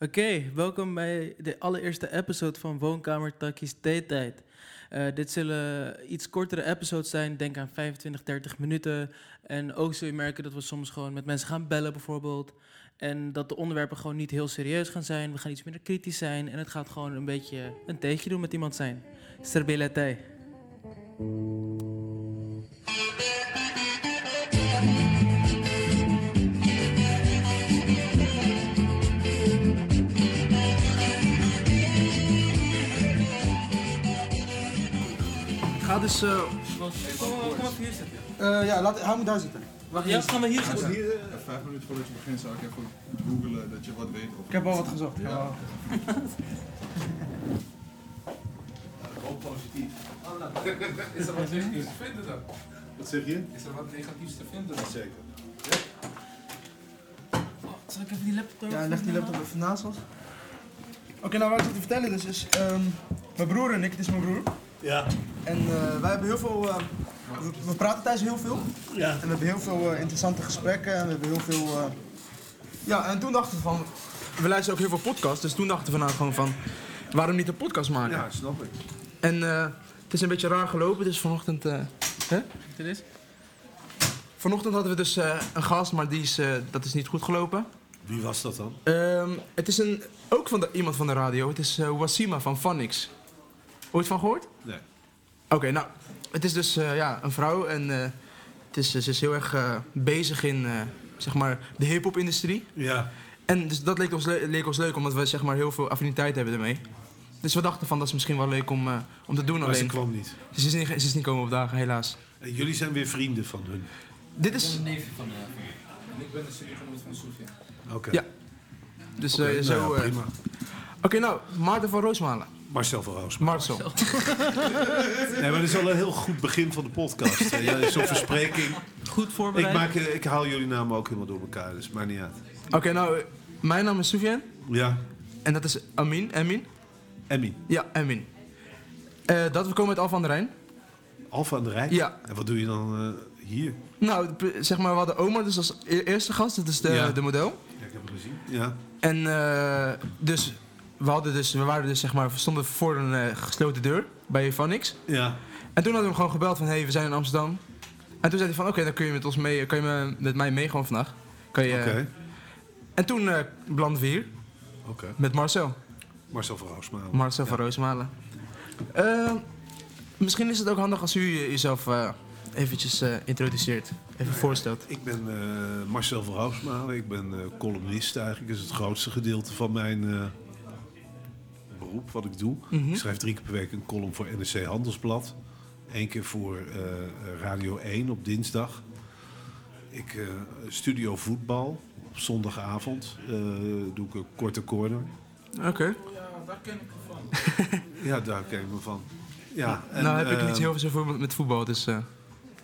Oké, welkom bij de allereerste episode van Woonkamer Takkies Theetijd. Eh dit zullen iets kortere episodes zijn, denk aan 25, 30 minuten. En ook zul je merken dat we soms gewoon met mensen gaan bellen bijvoorbeeld. En dat de onderwerpen gewoon niet heel serieus gaan zijn. We gaan iets minder kritisch zijn en het gaat gewoon een beetje een theetje doen met iemand zijn. Serbela thee. Ga dus. eh, Kom, kom even hier zitten. eh, ja, laat, hou me daar zitten. Wacht, ja, gaan we hier Als zitten. hier, eh, vijf minuten voordat je begint zou ik even googelen dat je wat weet. Of Ik heb al wat gezocht. Ja. Ja. Ook positief. Is er wat negatiefs te vinden dan? Wat zeg je? Is er wat negatiefs te vinden dan? Zeker. Zal ik even die laptop Ja, leg die laptop even naast ons. Oké, nou wat ik wil te vertellen dus is, ehm, mijn broer en ik, het is mijn broer. Ja, En eh, wij hebben heel veel, eh, we, we praten thuis heel veel. ja. En we hebben heel veel eh, interessante gesprekken en we hebben heel veel, eh, ja en toen dachten we van, we luisteren ook heel veel podcasts, dus toen dachten we nou gewoon van, waarom niet een podcast maken? Ja, snap ik. En eh, het is een beetje raar gelopen, dus vanochtend, eh, hè? Dit is. vanochtend hadden we dus eh, een gast, maar die is, eh, dat is niet goed gelopen. Wie was dat dan? Ehm, het is een, ook van de, iemand van de radio. Het is eh Wasima van Phonix. Ooit van gehoord? Nee. Oké, nou, het is dus eh, ja, een vrouw en eh, het is, ze is heel erg eh, bezig in eh, zeg maar, de hip-hop-industrie. Ja. En dus dat leek ons, le- leek ons leuk, omdat we zeg maar, heel veel affiniteit hebben ermee. Dus we dachten van dat is misschien wel leuk om, eh, om te doen. Maar ze Alleen kwam niet. ze is, niet, ze is niet komen opdagen, helaas. En jullie zijn weer vrienden van hun. Dit is. En ik ben de studiegenoot van Sofia. Oké. Ja, Dus Oké, eh, nou zo. ja, eh, prima. Oké, nou, Maarten van Roosmalen. Marcel van Roos. Marcel. Nee, maar dat is al een heel goed begin van de podcast. Eh, ja, Zo'n verspreking. Goed Ik, voorbereid. maak, eh, ik haal jullie namen ook helemaal door elkaar, dus maakt niet uit. Oké, nou, eh, mijn naam is Soufiane. Ja, En dat is Amin. Amin? Emmy. Ja, Amin. Eh, dat we komen uit Alphen aan de Rijn. Alfa aan de Rijn. Ja. En wat doe je dan eh, hier? Nou, p- zeg maar, we hadden Omar dus als e- eerste gast. Dat is de, Ja. de model. Ja, ik heb het gezien. Ja. En eh, dus, we hadden dus, we waren dus, zeg maar, we stonden voor een eh, gesloten deur bij Vanix. Ja. En toen hadden we hem gewoon gebeld van, hé, hey, we zijn in Amsterdam. En toen zei hij van, oké, dan kun je met ons mee, kan je me- met mij mee gewoon vandaag. Kan je, eh, Oké. En toen eh belanden we hier Oké. met Marcel. Marcel van Roosmalen. Marcel van Roosmalen. Eh, misschien is het ook handig als u eh, jezelf eh, eventjes eh, introduceert. Even voorstelt. Ik ben eh, Marcel van Hoofsmalen. Ik ben eh, columnist eigenlijk. Dat is het grootste gedeelte van mijn eh, beroep, wat ik doe. Mhm. Ik schrijf drie keer per week een column voor NRC Handelsblad. Eén keer voor eh, Radio 1 op dinsdag. Ik eh, studio voetbal op zondagavond. eh, doe ik een korte corner. Oké. Ja, daar ken ik me van. Ja, daar ken ik me van. Ja, en, nou heb ik niet eh, heel veel met, met voetbal, dus... eh,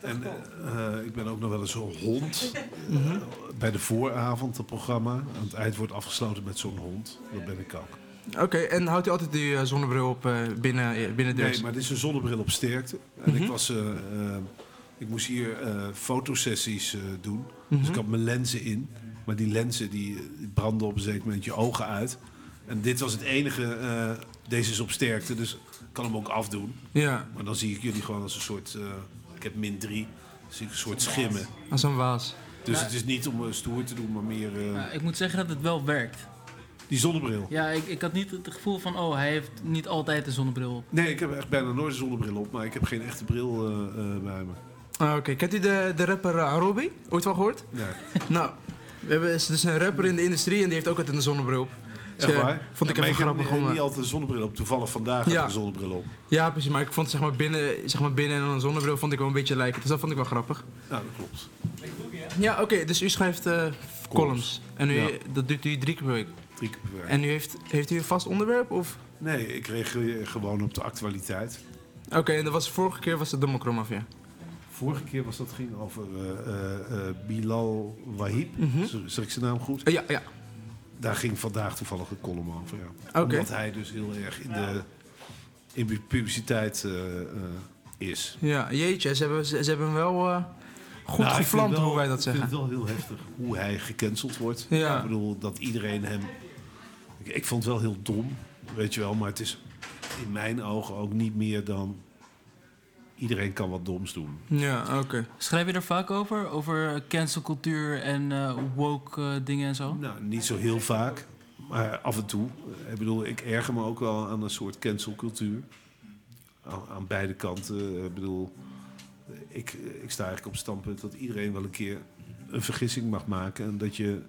En eh, eh, ik ben ook nog wel eens een hond. Eh, bij de vooravond, het programma. Aan het eind wordt afgesloten met zo'n hond. Dat ben ik ook. Oké, en houdt u altijd die eh, zonnebril op eh, binnen, eh, binnen deurs? Nee, maar dit is een zonnebril op sterkte. En ik, was, eh, eh, ik moest hier eh, fotosessies eh, doen. Mhm. Dus ik had mijn lenzen in. Maar die lenzen die, eh, die brandden op een zeker moment je ogen uit. En dit was het enige. eh, deze is op sterkte, dus ik kan hem ook afdoen. Ja, Maar dan zie ik jullie gewoon als een soort. eh, ik heb min drie. Dan zie ik een soort schimmen. als een waas. Dus het is niet om eh, stoer te doen, maar meer eh, Ja, ik moet zeggen dat het wel werkt. die zonnebril. Ja, ik, ik had niet het gevoel van, oh, hij heeft niet altijd een zonnebril op. Nee, ik heb echt bijna nooit een zonnebril op, maar ik heb geen echte bril eh, eh, bij me. Ah, Oké, kent u de, de rapper eh, Arobi? Ooit wel gehoord? Nee. nou, we hebben, is dus een rapper in de industrie en die heeft ook altijd een zonnebril op. Dus, Echt eh, waar? Vond ik Ja, maar even heb grappig niet- om... niet eh, altijd een zonnebril op. Toevallig vandaag heb Ja. ik een zonnebril op. Ja, precies, maar ik vond zeg maar binnen, zeg maar binnen en dan een zonnebril vond ik wel een beetje lijken. Dus dat vond ik wel grappig. Nou, dat klopt. Ja, oké, dus u schrijft eh, columns. En u, Ja. dat doet u drie keer per week. Drie keer per week. En u heeft, heeft u een vast onderwerp? Of? Nee, ik reageer gewoon op de actualiteit. Oké, en dat was vorige keer was het Dommelkromafia. Vorige keer was dat ging over eh, eh, eh, Bilal Wahib. Mhm. Z- Zeg ik zijn naam goed? Eh, ja, ja. Daar ging vandaag toevallig een column over. Ja. Oké. Omdat hij dus heel erg in de in de publiciteit eh, eh, is. Ja, jeetje, ze hebben, ze, ze hebben hem wel eh, goed Nou, ik vind gevlamd, wel- hoe wij dat zeggen. Ik vind het wel heel heftig hoe hij gecanceld wordt. Ja. Ik bedoel, dat iedereen hem... Ik Ik, ik vond het wel heel dom, weet je wel. Maar het is in mijn ogen ook niet meer dan... Iedereen kan wat doms doen. Ja, oké. Schrijf je er vaak over? Over cancelcultuur en eh, woke eh, dingen en zo? Nou, niet zo heel vaak, maar af en toe. Ik bedoel, ik erger me ook wel aan een soort cancelcultuur. Aan, aan beide kanten. Ik bedoel, ik, ik sta eigenlijk op het standpunt dat iedereen wel een keer een vergissing mag maken. En dat je.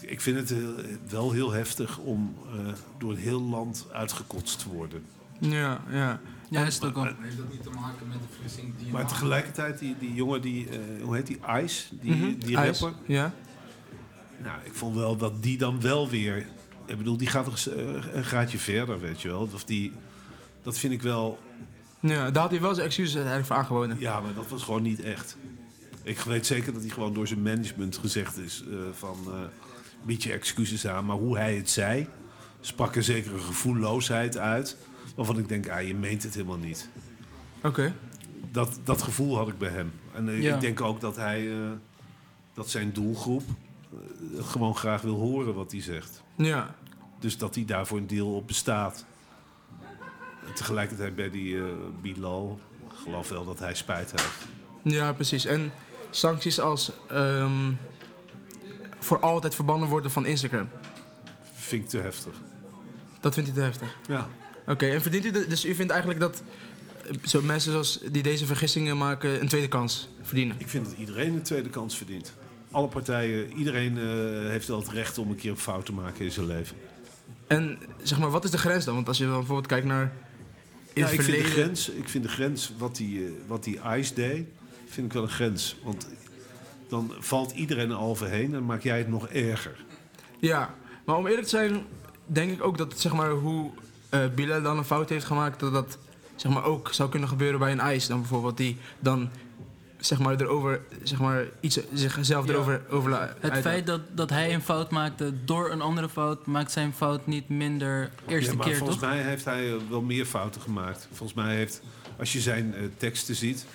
Ik vind het heel- wel heel heftig om eh, door een heel land uitgekotst te worden. Ja, ja. Ja, is het ook al. Heeft dat niet te maken met de vergissing die je Maar maakt? tegelijkertijd, die, die jongen, die, eh, hoe heet die? Ice, die, Mhm. die Ijs, rapper. Ja. Nou, ik vond wel dat die dan wel weer. Ik bedoel, die gaat nog eens, eh, een graadje verder, weet je wel. Of die, dat vind ik wel. ja, daar had hij wel zijn excuses eigenlijk voor aangeboden. Ja, maar dat was gewoon niet echt. Ik weet zeker dat hij gewoon door zijn management gezegd is: eh, van. eh, bied je excuses aan. Maar hoe hij het zei, sprak een zekere gevoelloosheid uit. Waarvan ik denk: ah, je meent het helemaal niet. Oké. Dat, dat gevoel had ik bij hem. En eh, Ja. ik denk ook dat hij. eh, dat zijn doelgroep. eh, gewoon graag wil horen wat hij zegt. Ja. Dus dat hij daar voor een deel op bestaat. En tegelijkertijd bij die eh, Bilal, ik geloof wel dat hij spijt heeft. Ja, precies. En sancties als ehm, voor altijd verbannen worden van Instagram. Vind ik te heftig. Dat vindt hij te heftig. Ja. Oké, en verdient u de- dus u vindt eigenlijk dat eh, zo mensen zoals die deze vergissingen maken een tweede kans verdienen? Ik vind dat iedereen een tweede kans verdient. Alle partijen, iedereen eh, heeft wel het recht om een keer een fout te maken in zijn leven. En zeg maar, wat is de grens dan? Want als je dan bijvoorbeeld kijkt naar in Ja, het ik, vind verleden. de grens, ik vind de grens, wat die, eh, wat die ICE deed, vind ik wel een grens. Want dan valt iedereen er overheen en maak jij het nog erger. Ja, maar om eerlijk te zijn, denk ik ook dat zeg maar, hoe eh Bilal dan een fout heeft gemaakt, dat dat zeg maar, ook zou kunnen gebeuren bij een ijs. Dan bijvoorbeeld die dan zeg maar, erover, zeg maar, iets, zichzelf Ja. erover over la- Het uitlaat. feit dat, dat hij een fout maakte door een andere fout, maakt zijn fout niet minder eerste ja, maar keer, volgens toch? mij heeft hij eh, wel meer fouten gemaakt. Volgens mij heeft, als je zijn eh, teksten ziet,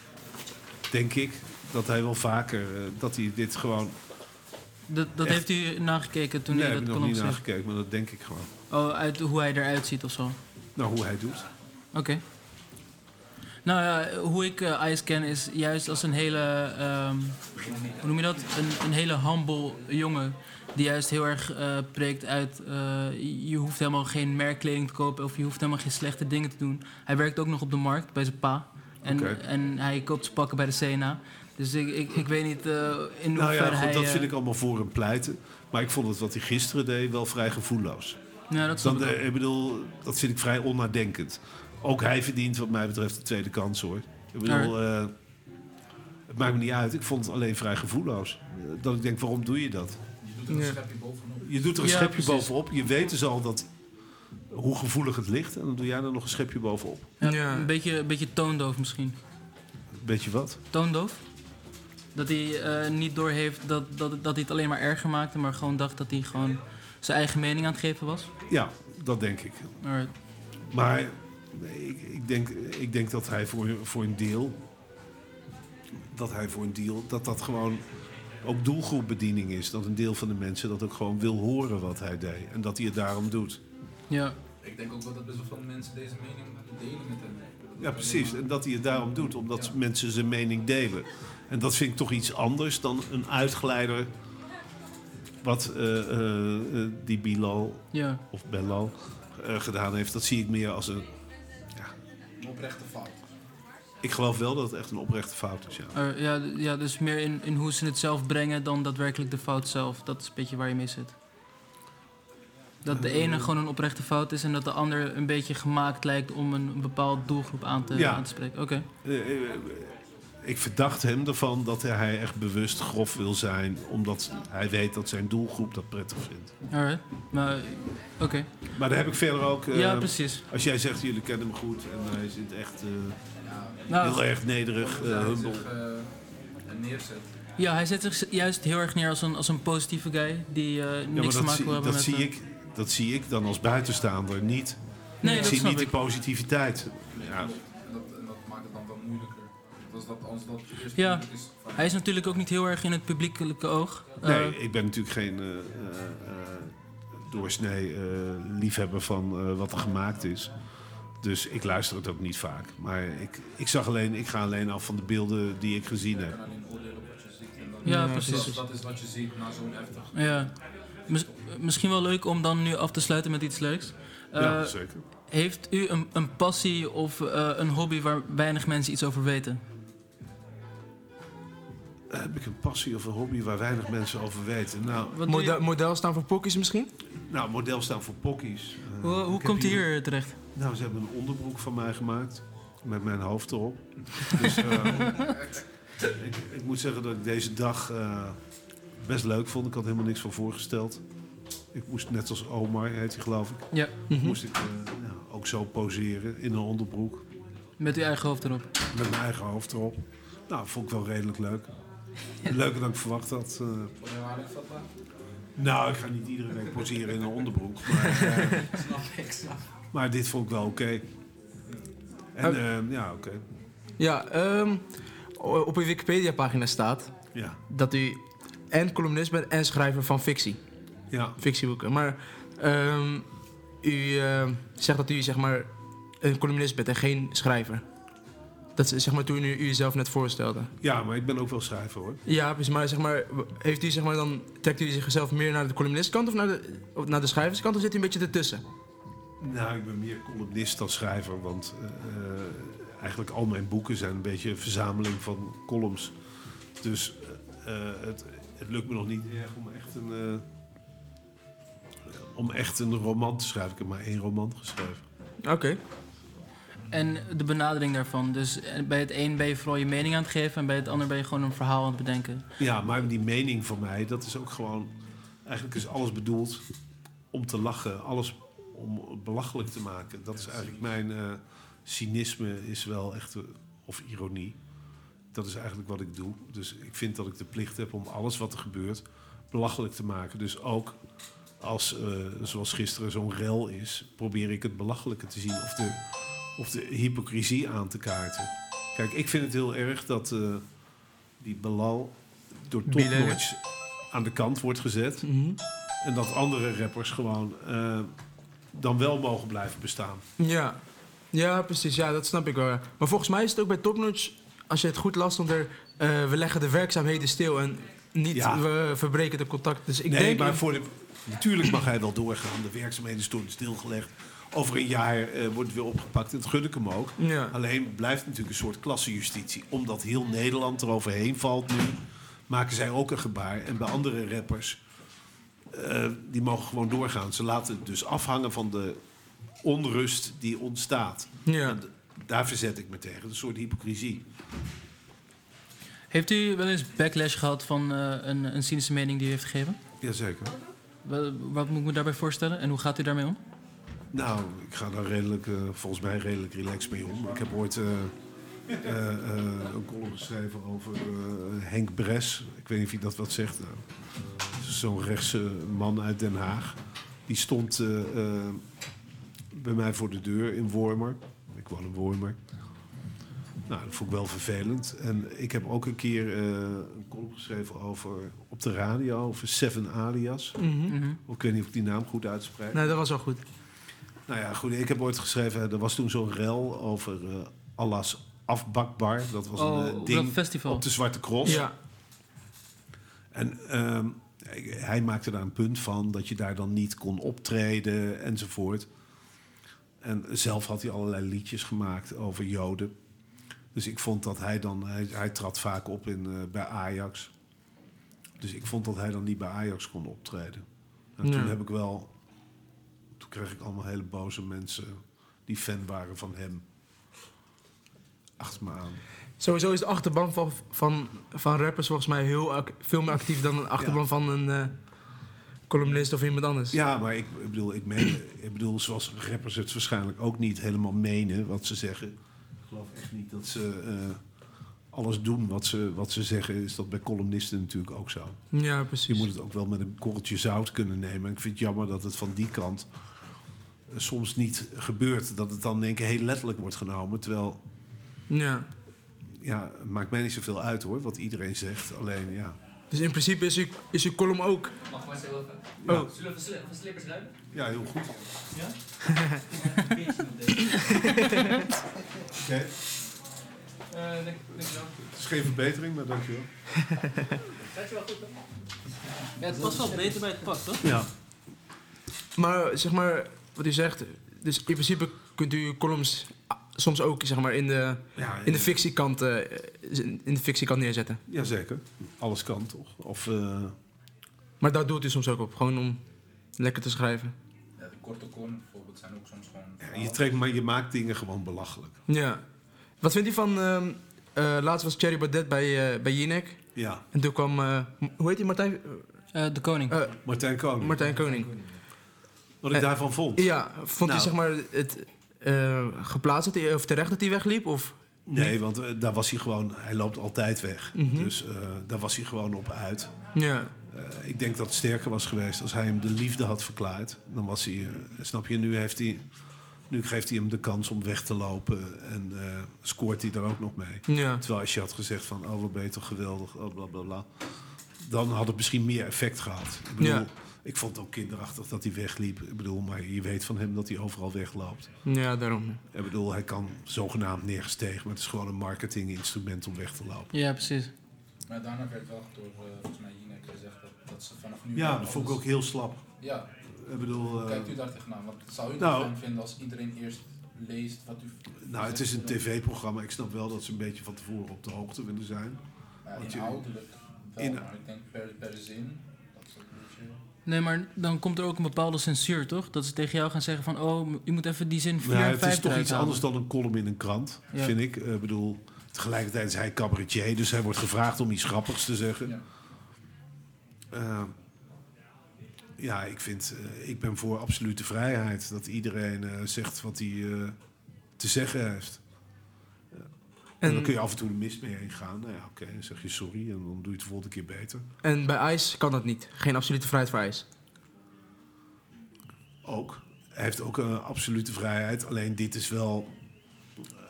denk ik dat hij wel vaker, eh, dat hij dit gewoon... Dat, dat Echt. heeft u nagekeken toen nee, hij heb ik dat nog kon niet opschrijven. nagekeken, maar dat denk ik gewoon. Oh, uit hoe hij eruit ziet of zo. Oké. Nou, hoe hij doet. Nou ja, hoe ik eh Ice ken is juist als een hele, ehm, hoe noem je dat? Een, een hele humble jongen. Die juist heel erg eh, preekt uit, eh, je hoeft helemaal geen merkkleding te kopen of je hoeft helemaal geen slechte dingen te doen. Hij werkt ook nog op de markt bij zijn pa. En, Oké. en hij koopt zijn pakken bij de CNA. Dus ik, ik, ik weet niet eh, in Nou hoeverre ja, goed, hij... dat vind eh, ik allemaal voor hem pleiten. Maar ik vond het wat hij gisteren deed wel vrij gevoelloos. Ja, dat snap Dan, ik eh, ook. ik bedoel, dat vind ik vrij onnadenkend. Ook hij verdient wat mij betreft de tweede kans hoor. Ik bedoel, eh, het maakt me niet uit. Ik vond het alleen vrij gevoelloos. Eh, Dat ik denk, waarom doe je dat? Je doet er een Ja. schepje bovenop. Je doet er een Ja, schepje precies. bovenop. Je weet dus al dat, hoe gevoelig het ligt. En dan doe jij er nog een schepje bovenop. Ja, Ja. Een, beetje, een beetje toondoof misschien. Weet je wat? Toondoof? Dat hij eh, niet doorheeft dat, dat, dat hij het alleen maar erger maakte, maar gewoon dacht dat hij gewoon zijn eigen mening aan het geven was. Ja, dat denk ik. Alright. Maar nee, ik, ik, denk, ik denk dat hij voor, voor een deel... Dat hij voor een deel... Dat dat gewoon ook doelgroepbediening is. Dat een deel van de mensen dat ook gewoon wil horen wat hij deed. En dat hij het daarom doet. Ja. Ik denk ook wel dat best wel veel mensen deze mening delen met hem. Ja, precies. En dat hij het daarom doet, omdat mensen zijn mening delen. En dat vind ik toch iets anders dan een uitglijder. Wat eh, eh, eh, die Bilal Ja. of Belal eh, gedaan heeft, dat zie ik meer als een. Een oprechte fout. Ik geloof wel dat het echt een oprechte fout is. Ja. Er- ja, d- ja, dus meer in, in hoe ze het zelf brengen dan daadwerkelijk de fout zelf. Dat is een beetje waar je mee zit. Dat de ene gewoon een oprechte fout is en dat de ander een beetje gemaakt lijkt om een, een bepaald doelgroep aan te, Ja. aan te spreken. Oké. Eh, eh, eh, ik verdacht hem ervan dat hij echt bewust grof wil zijn, omdat hij weet dat zijn doelgroep dat prettig vindt. Alright. Maar, oké. Maar daar heb ik verder ook. eh, ja, precies. als jij zegt, jullie kennen hem goed en hij zit echt eh, Nou, heel erg nederig, eh, Hoe humble. zich eh, neerzet. Ja, hij zet zich juist heel erg neer als een, als een positieve guy die eh, Ja, maar niks te dat, maken zie, wil hebben dat, met... zie eh, ik, dat zie ik dan als buitenstaander niet. Nee, ik dat zie snap niet de ik. positiviteit. Ja, En dat, en dat maakt het dan wel moeilijker. Want Als dat, als dat eerst Ja. moeilijk is, van- Hij is natuurlijk ook niet heel erg in het publiekelijke oog. Eh, nee, ik ben natuurlijk geen eh, eh, eh, doorsnee eh, liefhebber van eh, wat er gemaakt is. Dus ik luister het ook niet vaak. Maar ik, ik, zag alleen, ik ga alleen af van de beelden die ik gezien Je heb. kan alleen oordelen op wat je ziet. En dan Ja, Ja, dat, precies. dat is wat je ziet na zo'n heftig. Ja. Mis- misschien wel leuk om dan nu af te sluiten met iets leuks. ja, Eh, zeker. heeft u een, een passie of eh, een hobby waar weinig mensen iets over weten? Heb ik een passie of een hobby waar weinig mensen over weten? Nou, Wat doe je- Model, model staan voor pokkies misschien? nou model staan voor pokkies. Eh, Hoe, ik hoe heb komt u hier terecht? Nou, ze hebben een onderbroek van mij gemaakt. Met mijn hoofd erop. dus eh, ik, ik moet zeggen dat ik deze dag eh, best leuk vond. Ik had helemaal niks van voorgesteld. Ik moest net als Omar, heet hij geloof ik. Ja, Moest ik eh, ja, ook zo poseren in een onderbroek. met uw eigen hoofd erop. Met mijn eigen hoofd erop. Nou, vond ik wel redelijk leuk. Leuker dan ik verwacht had. eh. Ben je waarlijk vatbaar? nou, ik ga niet iedere week poseren in een onderbroek. Maar, eh, Snap ik, snap maar dit vond ik wel oké. En eh, ja, oké. Ja, ehm, o- op uw Wikipedia pagina staat Ja. dat u en columnist bent en schrijver van fictie. Ja. Fictieboeken. Maar ehm, u ehm, zegt dat u zeg maar een columnist bent en geen schrijver. Dat is zeg maar toen u u zelf net voorstelde. Ja, maar ik ben ook wel schrijver hoor. Ja, precies. Maar zeg maar, heeft u zeg maar dan, trekt u zichzelf meer naar de columnistkant of naar de, of naar de schrijverskant of zit u een beetje ertussen? Nou, ik ben meer columnist dan schrijver, want eh, eh, eigenlijk al mijn boeken zijn een beetje een verzameling van columns. Dus eh, eh, het, het lukt me nog niet erg om echt een, eh, om echt een roman te schrijven. Ik heb maar één roman geschreven. Oké. En de benadering daarvan. Dus eh, bij het een ben je vooral je mening aan het geven en bij het ander ben je gewoon een verhaal aan het bedenken. Ja, maar die mening van mij, dat is ook gewoon. Eigenlijk is alles bedoeld om te lachen, alles om belachelijk te maken. Dat is eigenlijk mijn eh, cynisme, is wel echt. eh, of ironie. Dat is eigenlijk wat ik doe. Dus ik vind dat ik de plicht heb om alles wat er gebeurt belachelijk te maken. Dus ook als, eh, zoals gisteren, zo'n rel is, probeer ik het belachelijke te zien of de, of de hypocrisie aan te kaarten. Kijk, ik vind het heel erg dat eh, die Belal door Bilal. Topnotch aan de kant wordt gezet. Mhm. En dat andere rappers gewoon eh, dan wel mogen blijven bestaan. Ja. ja, precies. Ja, dat snap ik wel. ja. Maar volgens mij is het ook bij Topnotch, als je het goed las, stond er... eh, we leggen de werkzaamheden stil en niet Ja. we verbreken de contact. Dus ik nee, denk... maar voor de, natuurlijk mag hij wel doorgaan. De werkzaamheden stonden stilgelegd. Over een jaar eh, wordt het weer opgepakt. En dat gun ik hem ook. Ja. Alleen blijft natuurlijk een soort klassenjustitie. Omdat heel Nederland eroverheen valt nu, maken zij ook een gebaar. En bij andere rappers, eh, die mogen gewoon doorgaan. Ze laten het dus afhangen van de onrust die ontstaat. Ja. En d- daar verzet ik me tegen. Een soort hypocrisie. Heeft u wel eens backlash gehad van eh, een, een cynische mening die u heeft gegeven? Jazeker. Wat, wat moet ik me daarbij voorstellen en hoe gaat u daarmee om? Nou, ik ga daar redelijk, eh, volgens mij redelijk relaxed mee om. Ik heb ooit eh, eh, eh, een column geschreven over eh, Henk Bres. Ik weet niet of je dat wat zegt. Nou, het is Zo'n rechtse man uit Den Haag. Die stond eh, eh, bij mij voor de deur in Wormer. Ik woon in Wormer. Nou, dat vond ik wel vervelend. En ik heb ook een keer eh, een column geschreven over, op de radio over Seven Alias. Mhm. Mhm. Ik weet niet of ik die naam goed uitspreek. Nee, dat was wel goed. Nou ja, goed. Ik heb ooit geschreven. Er was toen zo'n rel over eh Allah's afbakbar. Dat was Oh, een eh, op ding dat festival. op de Zwarte Cross. Ja. En ehm, hij- hij maakte daar een punt van dat je daar dan niet kon optreden enzovoort. En zelf had hij allerlei liedjes gemaakt over Joden. Dus ik vond dat hij dan, hij, hij trad vaak op in, eh, bij Ajax. Dus ik vond dat hij dan niet bij Ajax kon optreden. En Ja. toen heb ik wel, toen kreeg ik allemaal hele boze mensen die fan waren van hem. Achter me aan. Sowieso is de achterban van, van, van rappers volgens mij heel ac- veel meer actief dan de achterban van een eh, columnist of iemand anders. Ja, maar ik, ik bedoel, ik, meen, ik bedoel, zoals rappers het waarschijnlijk ook niet helemaal menen wat ze zeggen. Ik geloof echt niet dat ze eh, alles doen wat ze, wat ze zeggen. Is dat bij columnisten natuurlijk ook zo. Ja, Je precies. moet het ook wel met een korreltje zout kunnen nemen. En ik vind het jammer dat het van die kant eh, soms niet gebeurt. Dat het dan denk ik heel letterlijk wordt genomen. Terwijl, Ja. ja, het maakt mij niet zoveel uit hoor, wat iedereen zegt. Alleen ja, Dus in principe is uw, is uw column ook. Mag maar zo even. Oh, Zullen we sli- van slippers ruimen? Ja, heel goed. Oké, het Eh, dank- Dankjewel. is geen verbetering, maar dankjewel. Gaat je wel goed, hè? Ja, het past wel beter bij het pak, toch? Ja. maar zeg maar, wat u zegt. Dus in principe kunt u uw columns ah, soms ook zeg maar, in, de, ja in, de fictiekant, eh, in in de fictiekant neerzetten. Jazeker. Alles kan toch? Of eh, Maar daar doet u soms ook op. Gewoon om lekker te schrijven. Ja, de korte kolommen bijvoorbeeld zijn ook soms gewoon... ja, je, trekt, maar je maakt dingen gewoon belachelijk. Ja. Wat vindt u van. ehm, eh, laatst was Thierry Baudet bij, eh bij Jinek. Ja, En toen kwam. eh, M- hoe heet die Martijn? de koning. Eh, Martijn Koning. Martijn Koning. Wat ik Eh, daarvan vond. Ja, vond Nou. u zeg maar het. eh, geplaatst dat hij, of terecht dat hij wegliep? Of? Nee, want eh, daar was hij gewoon... Hij loopt altijd weg. Mhm. Dus eh, daar was hij gewoon op uit. Ja. Eh, ik denk dat het sterker was geweest als hij hem de liefde had verklaard. Dan was hij, eh, snap je, nu, heeft hij, nu geeft hij hem de kans om weg te lopen en eh, scoort hij daar ook nog mee. Ja. Terwijl als je had gezegd van, oh wat ben je toch geweldig, oh bla bla bla. Dan had het misschien meer effect gehad. Ik bedoel, Ja. ik vond het ook kinderachtig dat hij wegliep. Ik bedoel, maar je weet van hem dat hij overal wegloopt. Ja, daarom. Ik bedoel, hij kan zogenaamd neergestegen, maar het is gewoon een marketinginstrument om weg te lopen. Ja, precies. Maar daarna werd wel door, eh, volgens mij, Jinek gezegd dat, dat ze vanaf nu... Ja, wel dat vond ik alles- ook heel slap. Ja, Ik bedoel, eh, kijkt u daar tegenaan? Want zou u het Nou. fijn vinden als iedereen eerst leest wat u... Nou, het is een tv-programma. Ik snap wel dat ze een beetje van tevoren op de hoogte willen zijn. Ja, Want je- inhoudelijk wel, in- maar ik denk per, per zin. Dat is ook een beetje... Nee, maar dan komt er ook een bepaalde censuur, toch? Dat ze tegen jou gaan zeggen van... oh, je moet even die zin 4 Ja, en 5 het is toch eruit iets halen. anders dan een column in een krant, Ja. vind ik. Ik bedoel, tegelijkertijd is hij cabaretier, dus hij wordt gevraagd om iets grappigs te zeggen. Ja. Eh, ja, ik, vind, eh, ik ben voor absolute vrijheid. Dat iedereen eh, zegt wat hij eh, te zeggen heeft. En, Mm. dan kun je af en toe de mist mee heen gaan. Nou ja, oké, dan zeg je sorry en dan doe je het de volgende keer beter. En bij IJs kan dat niet. Geen absolute vrijheid voor IJs. Ook. Hij heeft ook een absolute vrijheid. Alleen dit is wel.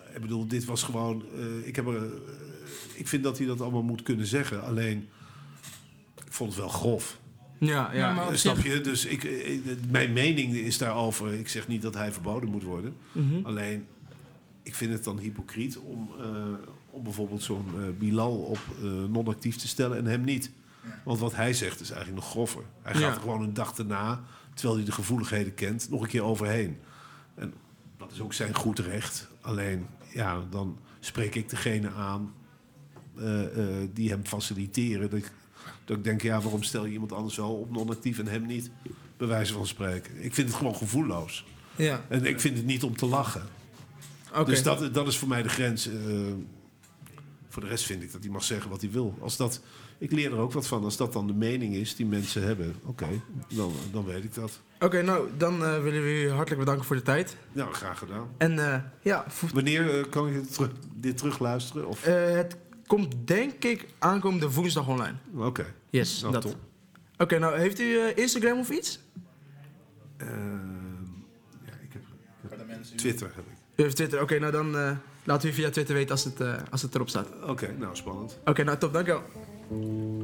eh, Ik bedoel, dit was gewoon. eh, ik, heb er, eh, ik vind dat hij dat allemaal moet kunnen zeggen. Alleen. Ik vond het wel grof. Ja, ja. Ja, maar- op Snap zich- je? Dus ik, eh, eh, mijn mening is daarover. Ik zeg niet dat hij verboden moet worden. Mhm. Alleen. Ik vind het dan hypocriet om, eh, om bijvoorbeeld zo'n eh, Bilal op eh, non-actief te stellen en hem niet. Want wat hij zegt is eigenlijk nog groffer. Hij gaat Ja. er gewoon een dag daarna, terwijl hij de gevoeligheden kent, nog een keer overheen. En dat is ook zijn goed recht. Alleen, ja, dan spreek ik degene aan eh, eh, die hem faciliteren. Dat ik, dat ik denk, ja, waarom stel je iemand anders wel op non-actief en hem niet? Bij wijze van spreken. Ik vind het gewoon gevoelloos. Ja, En ik vind het niet om te lachen. oké. Dus dat, dat is voor mij de grens. eh, voor de rest vind ik dat hij mag zeggen wat hij wil. Als dat, ik leer er ook wat van. Als dat dan de mening is die mensen hebben, oké, dan, dan weet ik dat. Oké, nou, dan eh, willen we u hartelijk bedanken voor de tijd. Nou, graag gedaan. En eh, ja, vo- Wanneer eh, kan ik het terug- dit terugluisteren? Of, eh, het komt denk ik aankomende woensdag online. oké, Yes, nou dat. top. Oké, nou, heeft u eh, Instagram of iets? Ehm, ja, ik heb Maar de mensen... Twitter. Heb ik. U heeft Twitter. Oké, nou dan eh, laat u via Twitter weten als het, eh, als het erop staat. Oké, Oké, nou spannend. nou top, dank u wel.